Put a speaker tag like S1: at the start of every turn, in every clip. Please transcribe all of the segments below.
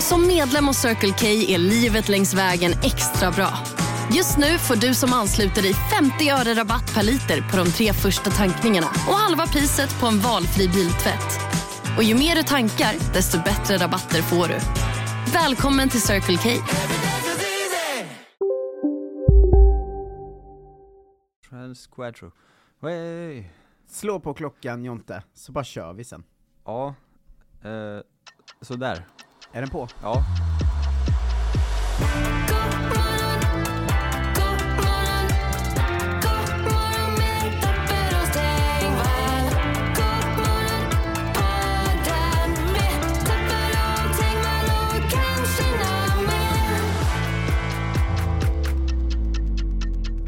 S1: Som medlem hos Circle K är livet längs vägen extra bra. Just nu får du som ansluter dig 50 öre rabatt per liter på de tre första tankningarna och halva priset på en valfri biltvätt. Och ju mer du tankar, desto bättre rabatter får du. Välkommen till Circle K.
S2: Transquadro. Wey.
S3: Slå på klockan Jonte, så bara kör vi sen.
S2: Ja, eh, sådär.
S3: Är den på?
S2: Ja.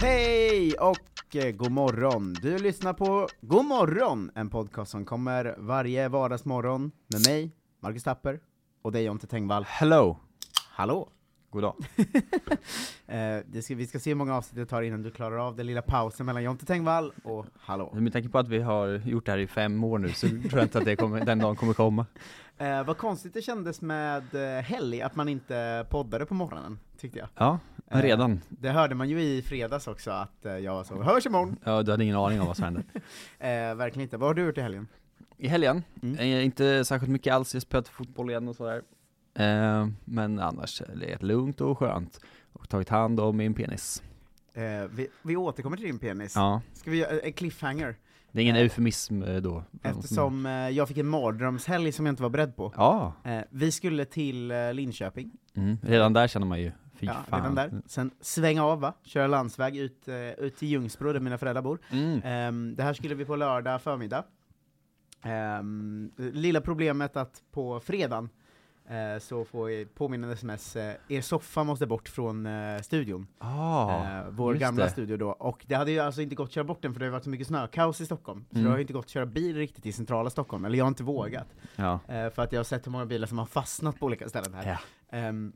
S3: Hej och eh, god morgon! Du lyssnar på God morgon, en podcast som kommer varje vardagsmorgon med mig, Marcus Tapper, och dig Jonte Tengvall.
S2: Hello.
S3: Hallå!
S2: God dag.
S3: Eh, det ska, vi ska se hur många avsnitt det tar innan du klarar av den lilla pausen mellan Jonte Tengvall och hallå.
S2: Med tanke på att vi har gjort det här i fem år nu så tror jag inte att det kommer, den dagen kommer komma.
S3: Eh, vad konstigt det kändes med eh, helg, att man inte poddade på morgonen, tyckte jag.
S2: Ja, men
S3: Eh,
S2: redan.
S3: Det hörde man ju i fredags också, att eh, jag var så ”Hörs imorgon!”
S2: Ja, du hade ingen aning om vad som hände.
S3: eh, Verkligen inte. Vad har du gjort i helgen?
S2: I helgen,
S3: Mm.
S2: eh, inte särskilt mycket alls, jag spelade fotboll igen och sådär. Eh, men annars är det lugnt och skönt. Och tagit hand om min penis.
S3: Eh, vi, vi återkommer till din penis.
S2: Ja,
S3: Ska vi göra en cliffhanger?
S2: det är ingen eufemism eh, då.
S3: Eftersom eh, jag fick en mardrömshelg som jag inte var beredd på.
S2: Ja,
S3: Eh, vi skulle till eh, Linköping,
S2: mm. redan där känner man ju, fy
S3: ja,
S2: fan.
S3: redan där. Sen svänga av va, köra landsväg ut, eh, ut till Ljungsbro där mina föräldrar bor.
S2: Mm.
S3: Ehm, det här skulle vi på lördag förmiddag. Ehm, lilla problemet att på fredagen eh, så får vi påminnande sms, eh, er soffa måste bort från eh, studion.
S2: Ah,
S3: eh, vår
S2: just
S3: gamla
S2: det.
S3: studio då, och det hade ju alltså inte gått att köra bort den för det har ju varit så mycket snökaos i Stockholm, så
S2: Mm.
S3: det har ju inte gått att köra bil riktigt i centrala Stockholm, eller jag har inte vågat,
S2: ja.
S3: eh, för att jag har sett hur många bilar som har fastnat på olika ställen här.
S2: Mm. Ja.
S3: Ehm,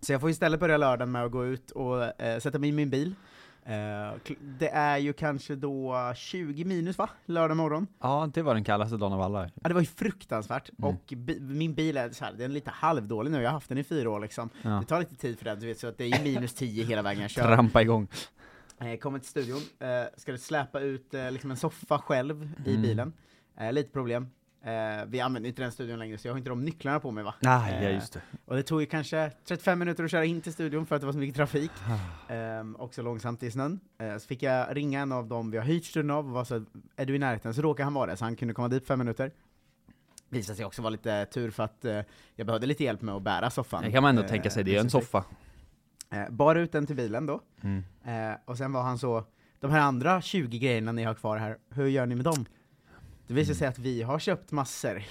S3: så jag får istället börja lördagen med att gå ut och eh, sätta mig i min bil. Eh, kl- det är ju kanske då 20 minus va, lördag morgon?
S2: ja, det var den kallaste dagen av alla.
S3: Ja, det var ju fruktansvärt,
S2: Mm.
S3: och bi- min bil är, så här, den är lite halvdålig nu, jag har haft den i fyra år liksom.
S2: Ja.
S3: Det tar lite tid för den, du vet, så att det är ju minus 10 hela vägen jag kör.
S2: Trampa igång.
S3: Eh, kommer till studion, eh, ska släpa ut eh, liksom en soffa själv i
S2: Mm.
S3: bilen. Eh, lite problem. Eh, vi använder inte den studion längre så jag har inte de nycklarna på mig va?
S2: Nej, Ah, ja,
S3: Eh,
S2: just det.
S3: Och det tog ju kanske 35 minuter att köra in till studion för att det var så mycket trafik.
S2: Ah.
S3: Ehm, också långsamt i snön. Eh, så fick jag ringa en av dem vi har hyrt studion av och var så är du i närheten? Så råkade han vara det, så han kunde komma dit fem minuter. Visade sig också vara lite tur för att eh, jag behövde lite hjälp med att bära soffan.
S2: Det kan man ändå
S3: Eh,
S2: tänka sig, det är en
S3: precis.
S2: soffa.
S3: Eh, bar ut den till bilen då.
S2: Mm.
S3: Eh, och sen var han så, de här andra 20 grejerna ni har kvar här, hur gör ni med dem? Det visar sig att vi har köpt massor,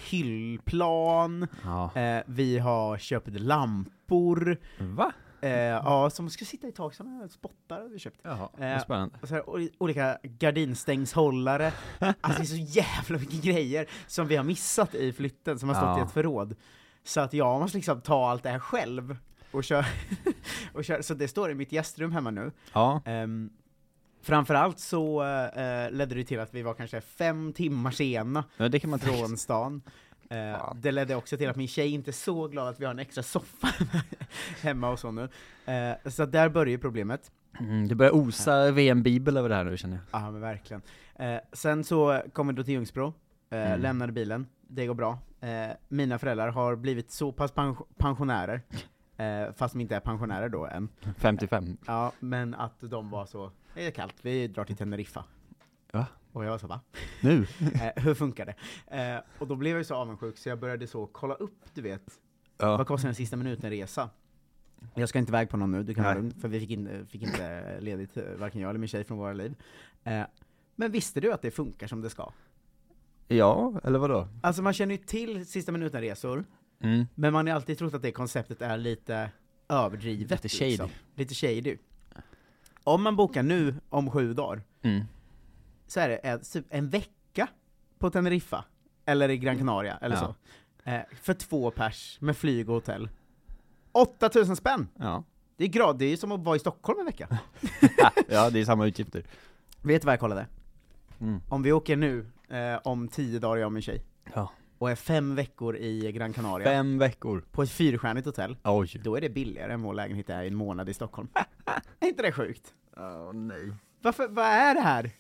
S3: hyllplan,
S2: Ja.
S3: eh, vi har köpt lampor,
S2: Va?
S3: eh, ja, som ska sitta i tak, sådana här spottar har vi köpt.
S2: Jaha,
S3: Eh,
S2: vad spännande.
S3: Och så här, ol- olika gardinstängshållare, alltså det är så jävla mycket grejer som vi har missat i flytten, som har stått i
S2: Ja.
S3: ett förråd. Så att jag måste liksom ta allt det här själv, och köra, och köra. så det står i mitt gästrum hemma nu.
S2: Ja,
S3: Ehm, framförallt så eh, ledde det till att vi var kanske fem timmar sena
S2: men eh, det kan man tro.
S3: från stan. Eh,
S2: Fan.
S3: det ledde också till att min tjej inte är så glad att vi har en extra soffa hemma och så nu. Eh, så att där börjar ju problemet.
S2: Mm, det börjar osa VM-bibel över det här nu känner jag.
S3: Ja men verkligen. Eh, sen så kom vi då till Ljungsbro, eh,
S2: Mm.
S3: lämnade bilen, det går bra. Eh, mina föräldrar har blivit så pass pens- pensionärer, eh, fast de inte är pensionärer då än.
S2: 55.
S3: Ja, men att de var så, det är kallt, vi drar till Teneriffa.
S2: Va?
S3: Och jag var så va?
S2: Nu?
S3: Eh, hur funkar det? Eh, och då blev jag ju så avundsjuk så jag började så kolla upp, du vet,
S2: Ja.
S3: vad kostar en sista minuten-resa? Jag ska inte iväg på någon nu, du kan vara
S2: Nej.
S3: lugn, för vi fick, in, eh, fick inte ledigt, eh, varken jag eller min tjej från våra liv. Eh, men visste du att det funkar som det ska?
S2: ja, eller vadå?
S3: Alltså man känner ju till sista minuten-resor,
S2: Mm.
S3: Men man har alltid trott att det konceptet är lite överdrivet. liksom.
S2: Lite shady.
S3: Lite shady. Om man bokar nu, om sju dagar,
S2: Mm.
S3: så är det en, typ en vecka på Teneriffa, eller i Gran Canaria, eller
S2: Ja.
S3: så. Eh, för två pers, med flyg och hotell. 8000 spänn!
S2: Ja. Ah,
S3: Det är, grad, det är ju som att vara i Stockholm en vecka.
S2: ja, det är samma utgifter.
S3: Vet du vad jag kollade?
S2: Mm.
S3: Om vi åker nu, eh, om tio dagar jag och min tjej,
S2: Ja.
S3: och är fem veckor i Gran Canaria,
S2: Fem veckor.
S3: på ett fyrstjärnigt hotell,
S2: Oj.
S3: då är det billigare än vår lägenhet är i en månad i Stockholm. är inte det sjukt?
S2: Oh, nej.
S3: Varför, vad är det här?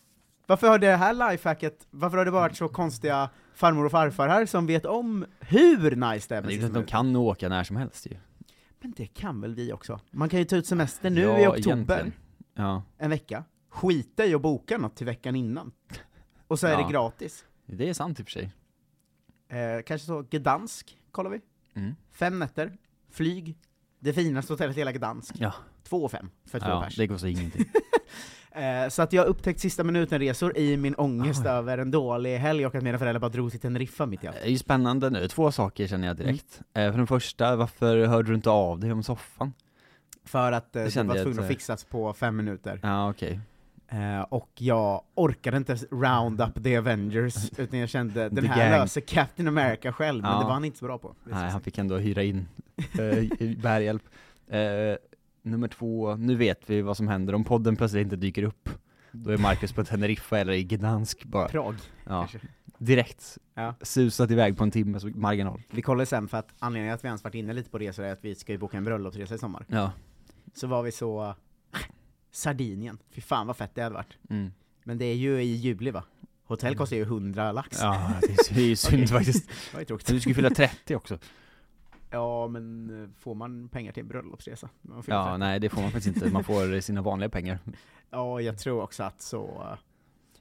S3: Varför har det här lifehacket, varför har det varit så konstiga farmor och farfar här som vet om hur nice det är
S2: Men
S3: med
S2: det är ju
S3: sin
S2: inte att de
S3: semester?
S2: kan åka när som helst ju.
S3: Men det kan väl vi också? Man kan ju ta ut semester nu
S2: ja,
S3: i oktober,
S2: egentligen. Ja,
S3: en vecka, skita i att boka något till veckan innan. Och så är
S2: Ja.
S3: det gratis.
S2: det är sant i och för sig.
S3: Eh, kanske så, Gdansk kollar vi.
S2: Mm.
S3: Fem nätter, flyg, det finaste hotellet i hela Gdansk.
S2: Ja.
S3: Två och fem för två
S2: ja,
S3: pers.
S2: det kostar ingenting.
S3: Eh, så att jag har upptäckt sista minuten-resor i min ångest över en dålig helg och att mina föräldrar bara drog till Teneriffa mitt i allt.
S2: Det är ju spännande nu, två saker känner jag direkt.
S3: Mm.
S2: Eh, för den första, varför hörde du inte av dig om soffan?
S3: För att eh,
S2: Det
S3: det
S2: kände
S3: var
S2: jag
S3: tvungen
S2: att,
S3: att
S2: eh,
S3: fixas på fem minuter.
S2: Ja, okej.
S3: Eh, och jag orkade inte s- round up the Avengers, utan jag kände den
S2: The
S3: här
S2: gang.
S3: löser Captain America själv, men
S2: Ja.
S3: det var han inte så bra på.
S2: Nej, han fick ändå hyra in eh, bärhjälp. Eh, nummer två, nu vet vi vad som händer om podden plötsligt inte dyker upp. Då är Marcus på Teneriffa eller i Gdansk bara.
S3: Prag.
S2: Ja,
S3: kanske.
S2: direkt
S3: Ja.
S2: susat iväg på en timmes marginal.
S3: Vi kollade sen för att anledningen att vi ens varit inne lite på resor är att vi ska ju boka en bröllopsresa i sommar.
S2: Ja.
S3: Så var vi så... Sardinien, fy fan vad fett det hade varit.
S2: Mm.
S3: Men det är ju i juli va? Hotell kostar ju 100 lax.
S2: Ja, det är, det är ju synd faktiskt.
S3: Det var ju tråkigt.
S2: Du ska ju fylla 30 också.
S3: Ja, men eh, får man pengar till en bröllopsresa? när Man
S2: Ja,
S3: ja,
S2: nej det får man faktiskt inte. Man får sina vanliga pengar.
S3: ja, jag tror också att så... eh,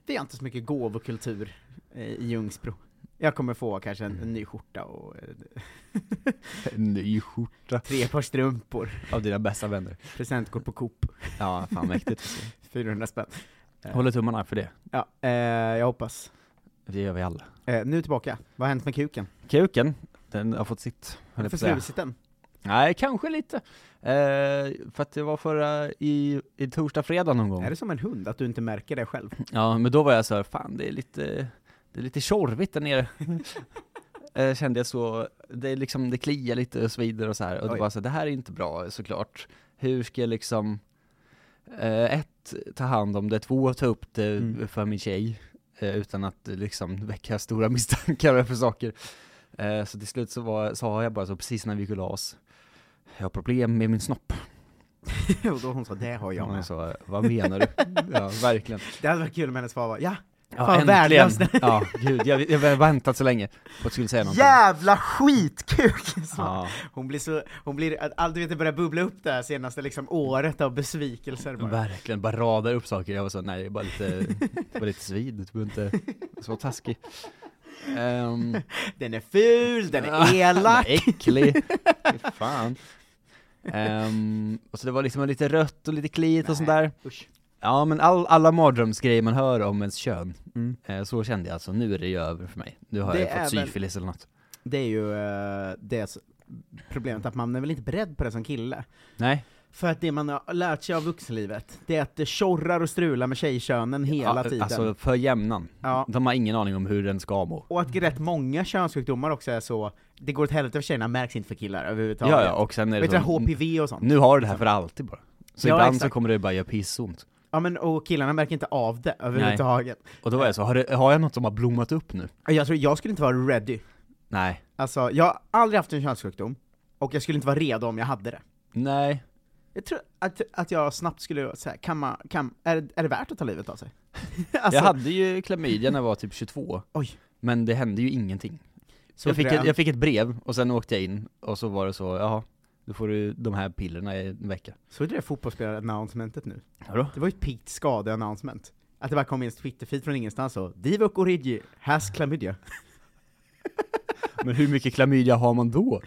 S3: Vi har inte så mycket gåvokultur eh, i Ljungsbro. Jag kommer få kanske en, en ny skjorta och eh,
S2: En ny skjorta.
S3: tre par strumpor,
S2: Av dina bästa vänner.
S3: presentkort på Coop,
S2: Ja, fan mäktigt.
S3: 400 spänn.
S2: Eh. Håller tummarna för det.
S3: Ja, eh, jag hoppas.
S2: Det gör vi alla.
S3: Eh, nu tillbaka, vad har hänt med kuken?
S2: Kuken, den har fått sitt. höll jag
S3: Har du
S2: på att säga.
S3: försvurit den?
S2: Nej, kanske lite. Eh, för att det var förra, i, i torsdag, fredag någon gång.
S3: Är det som en hund, att du inte märker det själv?
S2: Ja, men då var jag så här, fan det är lite, det är lite tjorvigt där nere. Eh, Kände jag så, det är liksom, det kliar lite och svider och så här. Och
S3: Oj.
S2: det var så här, det här är inte bra såklart. Hur ska jag liksom, eh, ett, ta hand om det, två, ta upp det
S3: Mm.
S2: för min tjej. eh, Utan att eh, liksom väcka stora misstankar för saker. Eh, Så till slut så var, sa jag bara så precis när vi gick och la oss, jag har problem med min snopp.
S3: och då hon sa, det har jag
S2: Och
S3: med.
S2: jag sa, vad menar du? ja, verkligen.
S3: Det hade varit kul om hennes svar var, ja, Fan,
S2: Ja, äntligen!
S3: värdelöst.
S2: Ja, gud, jag, jag har väntat så länge på att du skulle säga någonting.
S3: jävla skitkuk! sa
S2: Ja,
S3: Hon blir så, hon blir, allt du vet det börjar bubbla upp det här senaste liksom året av besvikelser bara.
S2: verkligen, bara radar upp saker. Jag var så, nej, det är bara lite, det var lite svid, du behöver inte vara så taskig. Ehm,
S3: Den är ful, den
S2: Ja,
S3: är elak!
S2: Den är äcklig! Fy fan. Ehm, och så det var liksom lite rött och lite kliet och sånt där.
S3: Usch.
S2: Ja men all, alla mardrömsgrejer man hör om ens kön,
S3: Mm.
S2: Eh, så kände jag alltså, nu är det ju över för mig. Nu har
S3: Det
S2: jag
S3: är
S2: fått
S3: väl-
S2: syfilis eller något.
S3: Det är ju eh, det s- problemet, att man är väl inte beredd på det som kille.
S2: Nej,
S3: För att det man har lärt sig av vuxenlivet, det är att det tjorrar och strular med tjejkönen hela
S2: Ja,
S3: tiden.
S2: alltså för jämnan.
S3: Ja.
S2: De har ingen aning om hur den ska må.
S3: Och att rätt många könssjukdomar också är så, det går åt helvete för tjejerna, märks inte för killar överhuvudtaget.
S2: Ja, ja, och sen är det
S3: Vet du,
S2: så,
S3: HPV och sånt.
S2: nu har du det här för alltid bara. Så
S3: Ja,
S2: ibland så
S3: exakt.
S2: kommer det bara göra pissont.
S3: Ja men, och killarna märker inte av det överhuvudtaget.
S2: Och då var jag så, har, det, har jag något som har blommat upp nu?
S3: Jag tror, jag skulle inte vara ready
S2: Nej.
S3: Alltså, jag har aldrig haft en könssjukdom, och jag skulle inte vara redo om jag hade det.
S2: Nej.
S3: Jag tror att, att jag snabbt skulle säga, kan man, kan, är, det- är det värt att ta livet av sig? alltså,
S2: jag hade ju klamydia när jag var typ 22,
S3: Oj,
S2: men det hände ju ingenting.
S3: så
S2: Jag fick, ett,
S3: fränt.
S2: jag fick ett brev, och sen åkte jag in, och så var det så, jaha, då får du de här pillerna i en vecka.
S3: Såg du det fotbollsspelare-announcementet nu?
S2: Vadå?
S3: Det var ju ett piggt skade-announcement. Att det bara kom in en Twitter-feed från ingenstans och Divock Origi has klamydia.
S2: Men hur mycket klamydia har man då?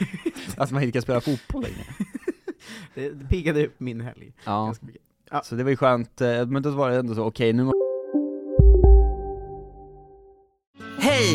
S2: Att man inte kan spela fotboll längre?
S3: Det, det piggade upp min helg
S2: Ja.
S3: ganska mycket.
S2: Så det var ju skönt, eh, men då var det ändå så, okej nu
S4: Hej,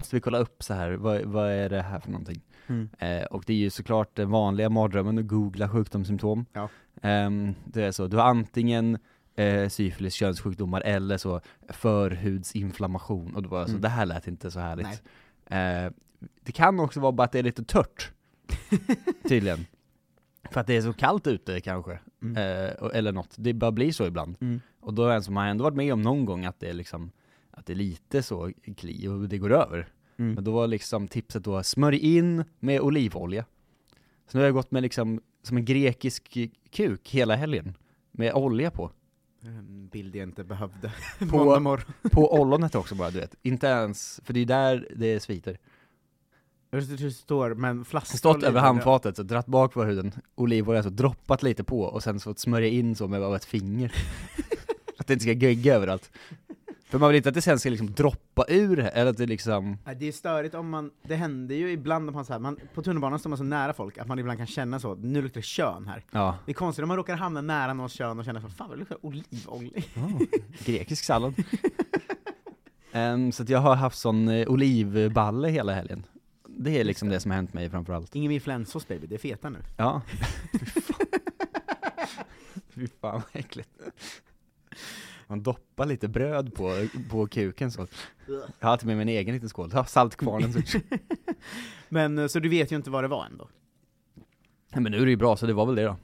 S2: Måste vi kolla upp så här, vad, vad är det här för någonting?
S3: Mm.
S2: Eh, och det är ju såklart den vanliga mardrömmen att googla sjukdomssymptom.
S3: Ja.
S2: Ehm, det är så, du har antingen eh, syfilis, könssjukdomar eller så förhudsinflammation. Och då var jag så,
S3: Mm.
S2: det här lät inte så härligt. Eh, det kan också vara bara att det är lite tört, tydligen. För att det är så kallt ute kanske,
S3: Mm.
S2: eh, och- eller något. Det bara blir så ibland.
S3: Mm.
S2: Och då är det en som har ändå varit med om någon gång att det är liksom, att det är lite så kli och det går över.
S3: Mm.
S2: Men då var liksom tipset då, smörj in med olivolja. Så nu har jag gått med liksom, som en grekisk kuk hela helgen. Med olja på.
S3: En Ehm, bild jag inte behövde.
S2: På-
S3: Måndag morgon.
S2: På ollonet också bara, du vet. Inte ens, för det är där det sviter.
S3: Jag vet inte hur det står, men flaskor...
S2: Stått
S3: lite
S2: över
S3: bra.
S2: handfatet, så dratt bak på huden, olivolja, så droppat lite på och sen så fått smörja in så med bara ett finger. att det inte ska gegga överallt. För man vill inte att det sen ska liksom droppa ur, eller att det liksom...
S3: Nej, Det är störigt om man, det händer ju ibland om man så här, man, på tunnelbanan står man så nära folk att man ibland kan känna så, nu luktar det kön här.
S2: Ja.
S3: Det är konstigt om man råkar hamna nära någons kön och känner så, fan vad det luktar olivolja.
S2: Grekisk sallad. Ehm, så att jag har haft sån eh, olivballe hela helgen. Det är liksom det som har hänt mig framförallt.
S3: Ingen influensos baby, det är feta nu.
S2: Ja. Fy fan vad äckligt. Man doppar lite bröd på, på kuken så. Jag har till med min egen liten skål. Jag har saltkvarnen. Så.
S3: Men eh, så du vet ju inte vad det var ändå.
S2: Nej, Men nu är det ju bra, så det var väl det då.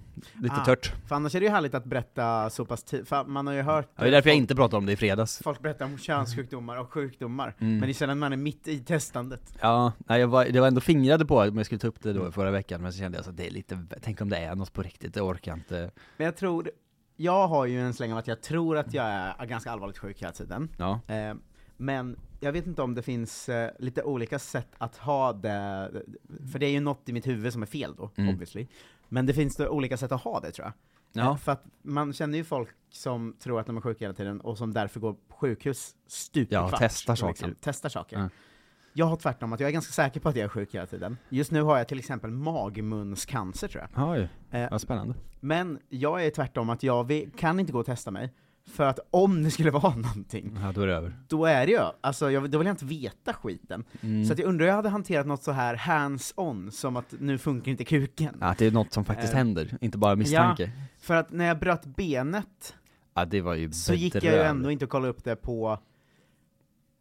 S2: Lite
S3: Ah.
S2: tört.
S3: För annars är det ju härligt att berätta så pass tidigt, för man har ju hört
S2: Ja, det är därför jag inte pratade om det i fredags.
S3: folk berätta om könssjukdomar och sjukdomar,
S2: Mm.
S3: men det är sällan man är mitt i testandet.
S2: Ja, nej, jag var, det var ändå fingrade på om jag skulle ta upp det då i förra veckan, men så kände jag så att det är lite, tänk om det är något på riktigt, det orkar jag inte.
S3: Men jag tror, jag har ju en släng av att jag tror att jag är ganska allvarligt sjuk hela tiden.
S2: Ja.
S3: Eh, men jag vet inte om det finns eh, lite olika sätt att ha det, för det är ju något i mitt huvud som är fel då,
S2: Mm.
S3: obviously. Men det finns då olika sätt att ha det tror jag. Eh,
S2: Ja,
S3: För att man känner ju folk som tror att de är sjuka hela tiden och som därför går på sjukhus stup i
S2: Ja,
S3: kvart,
S2: testar
S3: liksom.
S2: saker.
S3: testar saker.
S2: Ja.
S3: Jag har tvärtom, att jag är ganska säker på att jag är sjuk hela tiden. Just nu har jag till exempel magmunscancer tror jag.
S2: ja ju.
S3: Eh,
S2: Vad spännande.
S3: Men jag är tvärtom, att jag vi- kan inte gå och testa mig. För att om det skulle vara någonting,
S2: Ja, då är det över.
S3: då är det ju, alltså jag, då vill jag inte veta skiten.
S2: Mm.
S3: Så att jag undrar hur jag hade hanterat något så här hands-on, som att nu funkar inte kuken.
S2: Ja, att det är något som faktiskt
S3: Eh,
S2: händer, inte bara misstanke. Ja,
S3: För att när jag bröt benet,
S2: det var ju
S3: så gick jag ju
S2: bedrövligt.
S3: ändå inte och kollade upp det på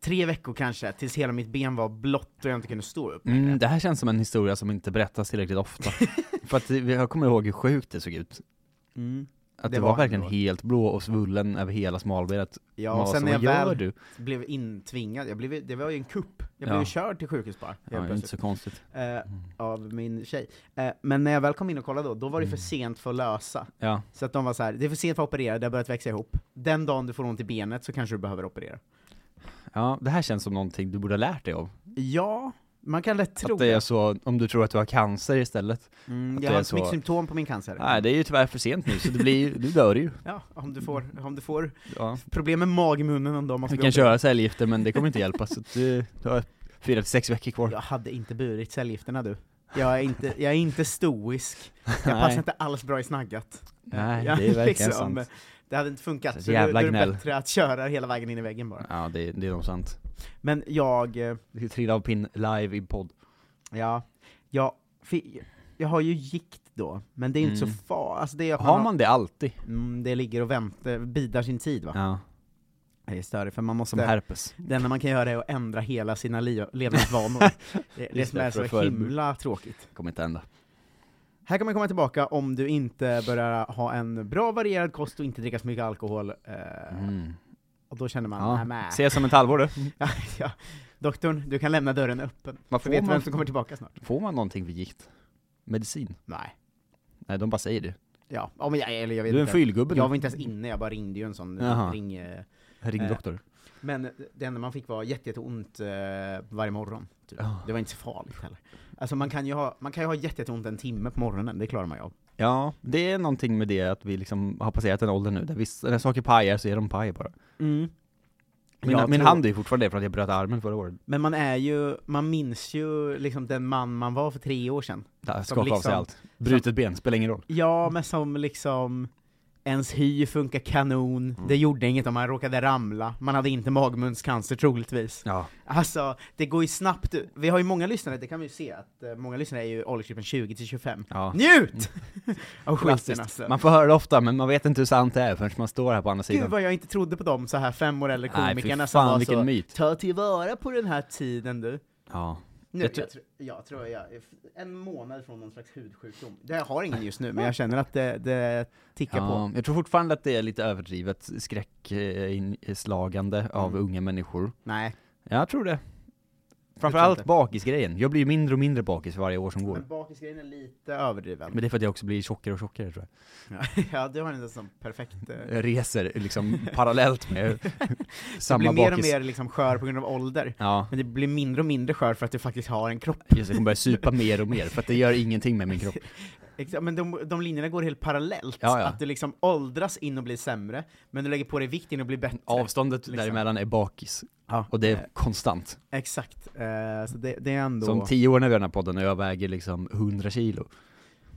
S3: tre veckor kanske, tills hela mitt ben var blått och jag inte kunde stå upp.
S2: Mm, det här känns som en historia som inte berättas tillräckligt ofta. För att det- jag kommer ihåg hur sjukt det såg ut.
S3: Mm.
S2: Att det,
S3: Det
S2: var,
S3: var
S2: verkligen
S3: ändå.
S2: helt blå och svullen över hela smalbenet.
S3: Ja,
S2: Man
S3: och
S2: var
S3: sen
S2: så,
S3: när jag
S2: "Vad gör
S3: väl
S2: du?
S3: blev intvingad, jag blev, det var ju en kupp. Jag
S2: Ja.
S3: blev ju körd till sjukhus bara,
S2: Ja,
S3: helt
S2: det är inte
S3: plötsligt.
S2: så konstigt.
S3: Eh, av min tjej. Eh, men när jag väl kom in och kollade då, då var det
S2: Mm.
S3: för sent för att lösa.
S2: Ja,
S3: Så att de var så här, det är för sent för att operera, det har börjat växa ihop. Den dagen du får ont i benet så kanske du behöver operera.
S2: ja, det här känns som någonting du borde ha lärt dig av.
S3: Ja, man kan lätt tro
S2: Att det är så, om du tror att du har cancer istället.
S3: Mm,
S2: att
S3: jag
S2: det är
S3: har inte så
S2: så-
S3: mycket symptom på min cancer.
S2: Nej, det är ju tyvärr för sent nu, så det blir, ju- du dör ju.
S3: Ja, om du får, om du får
S2: Ja.
S3: problem med magmunnen en dag måste
S2: Vi
S3: vi
S2: kan
S3: operera.
S2: köra cellgifter men det kommer inte hjälpa så att du, du har fyra till sex veckor kvar.
S3: Jag hade inte burit cellgifterna du. Jag är inte, jag är inte stoisk. Jag
S2: Nej.
S3: passar inte liksom. alls bra i snaggat.
S2: Nej,
S3: jag,
S2: det är verkligen sant.
S3: Det hade inte funkat,
S2: Så
S3: så, det,
S2: jävla
S3: då är det
S2: gnäll.
S3: bättre att köra hela vägen in i väggen bara.
S2: Ja, det, det är nog sant.
S3: Men jag, eh,
S2: Du ska trilla av pinn live i podd.
S3: ja, jag, fi- jag har ju gikt då, men det är ju inte
S2: Mm.
S3: så farligt. Alltså det är att
S2: Har man det alltid?
S3: mm, det ligger och väntar, bidar sin tid va.
S2: Ja.
S3: Det är större, för man måste...
S2: Som herpes.
S3: Det enda man kan göra är att ändra hela sina li- levnadsvanor. det det
S2: Just
S3: som
S2: det,
S3: är
S2: för att
S3: så
S2: förebygga.
S3: himla tråkigt.
S2: Kommer inte hända.
S3: Här kommer jag komma tillbaka om du inte börjar ha en bra varierad kost och inte dricka så mycket alkohol. Eh,
S2: Mm.
S3: Och då känner man, nej
S2: Ja.
S3: men.
S2: Ses om ett halvår du.
S3: Ja, ja. Doktorn, du kan lämna dörren öppen.
S2: Vad
S3: För
S2: får
S3: vet du
S2: man-
S3: vem som kommer tillbaka snart?
S2: Får man någonting för gift? Medicin?
S3: Nej.
S2: Nej, de bara säger det.
S3: Ja, ja men jag, eller jag vet
S2: Du är en
S3: inte.
S2: fyllgubbe
S3: Jag
S2: nu.
S3: var inte ens inne, jag bara ringde ju en sån
S2: Jaha.
S3: ring... eh,
S2: Ring
S3: Eh,
S2: doktor.
S3: Men det enda man fick var jätte, jätteont eh, varje morgon. Typ.
S2: Ja.
S3: Det var inte så farligt heller. Alltså man kan ju ha, man kan ju ha jätte, jätteont en timme på morgonen, det klarar man ju av.
S2: Ja, det är någonting med det att vi liksom har passerat en ålder nu där vissa, när saker pajar så är de paj bara.
S3: Mm.
S2: Min,
S3: Jag
S2: min
S3: tror-
S2: hand är ju fortfarande det för att jag bröt armen förra året.
S3: Men man är ju, man minns ju liksom den man man var för tre år sedan.
S2: Där,
S3: Som
S2: Skaka av sig
S3: liksom-
S2: allt. Brutet ben, spelar ingen roll.
S3: Ja, men som liksom Ens hy funkar kanon, det gjorde inget om man råkade ramla, man hade inte magmundscancer troligtvis.
S2: Ja.
S3: Alltså, det går ju snabbt ut. Vi har ju många lyssnare, det kan vi ju se, att eh, många lyssnare är ju i åldersgruppen 20 till 25.
S2: ja.
S3: Njut! Av skiten
S2: Klassiskt.
S3: alltså.
S2: Man får höra det ofta men man vet inte hur sant det är förrän man står här på andra
S3: Gud
S2: sidan.
S3: vad jag inte trodde på dem så här fem år eller
S2: Nej, fy
S3: komikerna som
S2: fan,
S3: var
S2: vilken
S3: så
S2: myt.
S3: Ta tillvara på den här tiden du.
S2: Ja.
S3: Nu,
S2: Jag
S3: jag,
S2: tror-
S3: tr- jag tror jag är f- en månad från någon slags hudsjukdom. Det jag har ingen just nu, men jag känner att det, det tickar på.
S2: Ja, jag tror fortfarande att det är lite överdrivet skräckslagande av
S3: Mm.
S2: unga människor.
S3: Nej,
S2: Jag tror det.
S3: tror
S2: Framförallt
S3: inte.
S2: bakisgrejen. Jag blir mindre och mindre bakis för varje år som går.
S3: men bakisgrejen är lite överdriven.
S2: Men det är för att jag också blir tjockare och tjockare tror jag.
S3: Eh. ja, du har en sån perfekt... eh,
S2: Jag reser liksom parallellt med
S3: Du
S2: samma
S3: blir mer och
S2: bakis.
S3: mer liksom skör på grund av ålder.
S2: Ja,
S3: Men det blir mindre och mindre skör för att du faktiskt har en kropp.
S2: just det, jag kommer börja supa mer och mer för att det gör ingenting med min kropp.
S3: Exakt, Men de, de linjerna går helt parallellt.
S2: Ja, ja.
S3: Att du liksom åldras in och blir sämre, men du lägger på dig vikt in och blir bättre.
S2: Avståndet
S3: Liksom.
S2: däremellan är bakis.
S3: Ja.
S2: Och det
S3: Eh,
S2: är konstant.
S3: Exakt. Eh, så det, det är ändå...
S2: Som tio år när vi gör den här podden och jag väger liksom 100 kilo.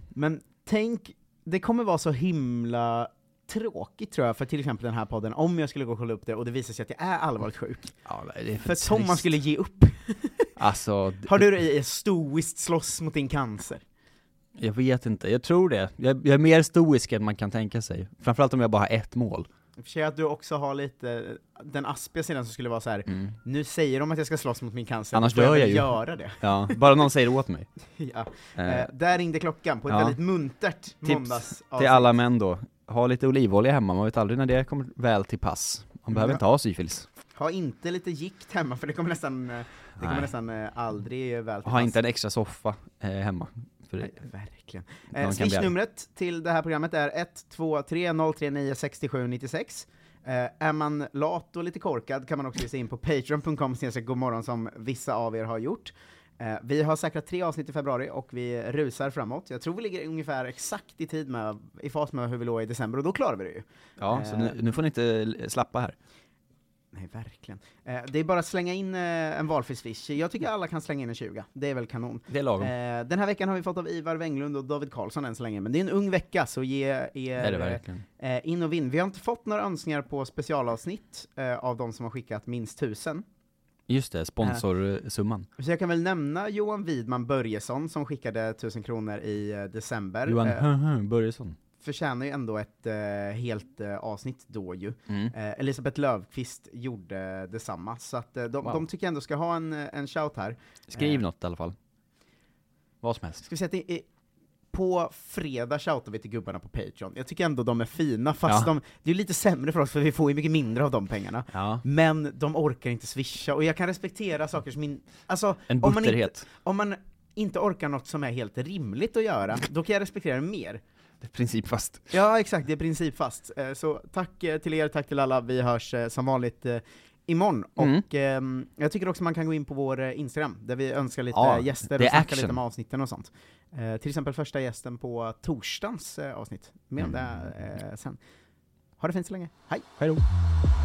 S3: Men tänk, det kommer vara så himla tråkigt tror jag för till exempel den här podden, om jag skulle gå och kolla upp det och det visar sig att jag är allvarligt sjuk.
S2: Ja, det är
S3: För att
S2: trist.
S3: som man skulle ge upp.
S2: Alltså,
S3: Har du dig i stoiskt slåss mot din cancer?
S2: Jag vet inte, jag tror det. Jag, jag är mer stoisk än man kan tänka sig. Framförallt om jag bara har ett mål.
S3: I och för sig att du också har lite den aspiga sidan som skulle vara så här. nu säger de att jag ska slåss mot min cancer,
S2: Mm. Annars
S3: då får
S2: dör
S3: väl
S2: jag ju.
S3: göra det.
S2: Ja, bara någon säger åt mig.
S3: ja.
S2: Eh,
S3: eh, där ringde klockan på ett
S2: ja.
S3: väldigt muntert
S2: Tips
S3: måndags
S2: till alla män då, ha lite olivolja hemma, man vet aldrig när det kommer väl till pass. Man behöver
S3: Ja.
S2: inte ha syfilis.
S3: Ha inte lite gikt hemma för det kommer nästan, eh, det kommer
S2: Nej.
S3: nästan eh, aldrig väl till
S2: Ha
S3: pass.
S2: inte en extra soffa eh, hemma. För det,
S3: Nej, Verkligen.
S2: kan
S3: Eh,
S2: bli
S3: Swishnumret till det här programmet är 123 039 67 96. Eh, är man lat och lite korkad kan man också ge sig in på patreon.com snedstreck godmorgon som vissa av er har gjort. Eh, vi har säkrat tre avsnitt i februari och vi rusar framåt. Jag tror vi ligger ungefär exakt i tid med, i fas med hur vi låg i december och då klarar vi det ju.
S2: ja, så nu, nu får ni inte eh, slappa här.
S3: Nej, verkligen. Eh, det är bara att slänga in eh, en valfri swish. Jag tycker alla kan slänga in en 20. Det är väl kanon.
S2: Det är lagom.
S3: Eh, den här veckan har vi fått av Ivar Wenglund och David Karlsson än så länge, men det är en ung vecka så ge
S2: är det
S3: er
S2: verkligen.
S3: eh, in och vinn. Vi har inte fått några önskningar på specialavsnitt eh, av de som har skickat minst tusen.
S2: Just
S3: eh.
S2: det, sponsorsumman.
S3: Så jag kan väl nämna Johan Widman Börjesson som skickade tusen kronor i eh, december.
S2: Johan
S3: Eh,
S2: Börjesson.
S3: förtjänar ju ändå ett eh, helt eh, avsnitt då ju.
S2: Mm.
S3: Eh, Elisabeth Löfqvist gjorde detsamma, så att eh, de,
S2: Wow.
S3: de tycker jag ändå ska ha en, eh, en shout här.
S2: Skriv
S3: eh.
S2: något i alla fall. Vad som helst.
S3: Ska vi säga att det är, på fredag shoutar vi till gubbarna på Patreon. Jag tycker ändå de är fina,
S2: Ja.
S3: fast de, det är lite sämre för oss för vi får ju mycket mindre av de pengarna.
S2: Ja.
S3: Men de orkar inte swisha, och jag kan respektera saker som min... Alltså,
S2: En
S3: om man, inte,
S2: bitterhet.
S3: om man inte orkar något som är helt rimligt att göra, då kan jag respektera det mer.
S2: Det är principfast.
S3: Ja, exakt, det är principfast. Eh, Så tack eh, till er, tack till alla, vi hörs eh, som vanligt eh, imorgon.
S2: Mm.
S3: Och ehm, jag tycker också man kan gå in på vår eh, Instagram, där vi önskar lite
S2: Ja,
S3: gäster
S2: det är
S3: och snackar
S2: action.
S3: lite om avsnitten och sånt. Eh, Till exempel första gästen på
S2: Mm.
S3: torsdagens eh, avsnitt. Mer om det eh, sen. Ha det fint så länge, hej!
S2: Hej då.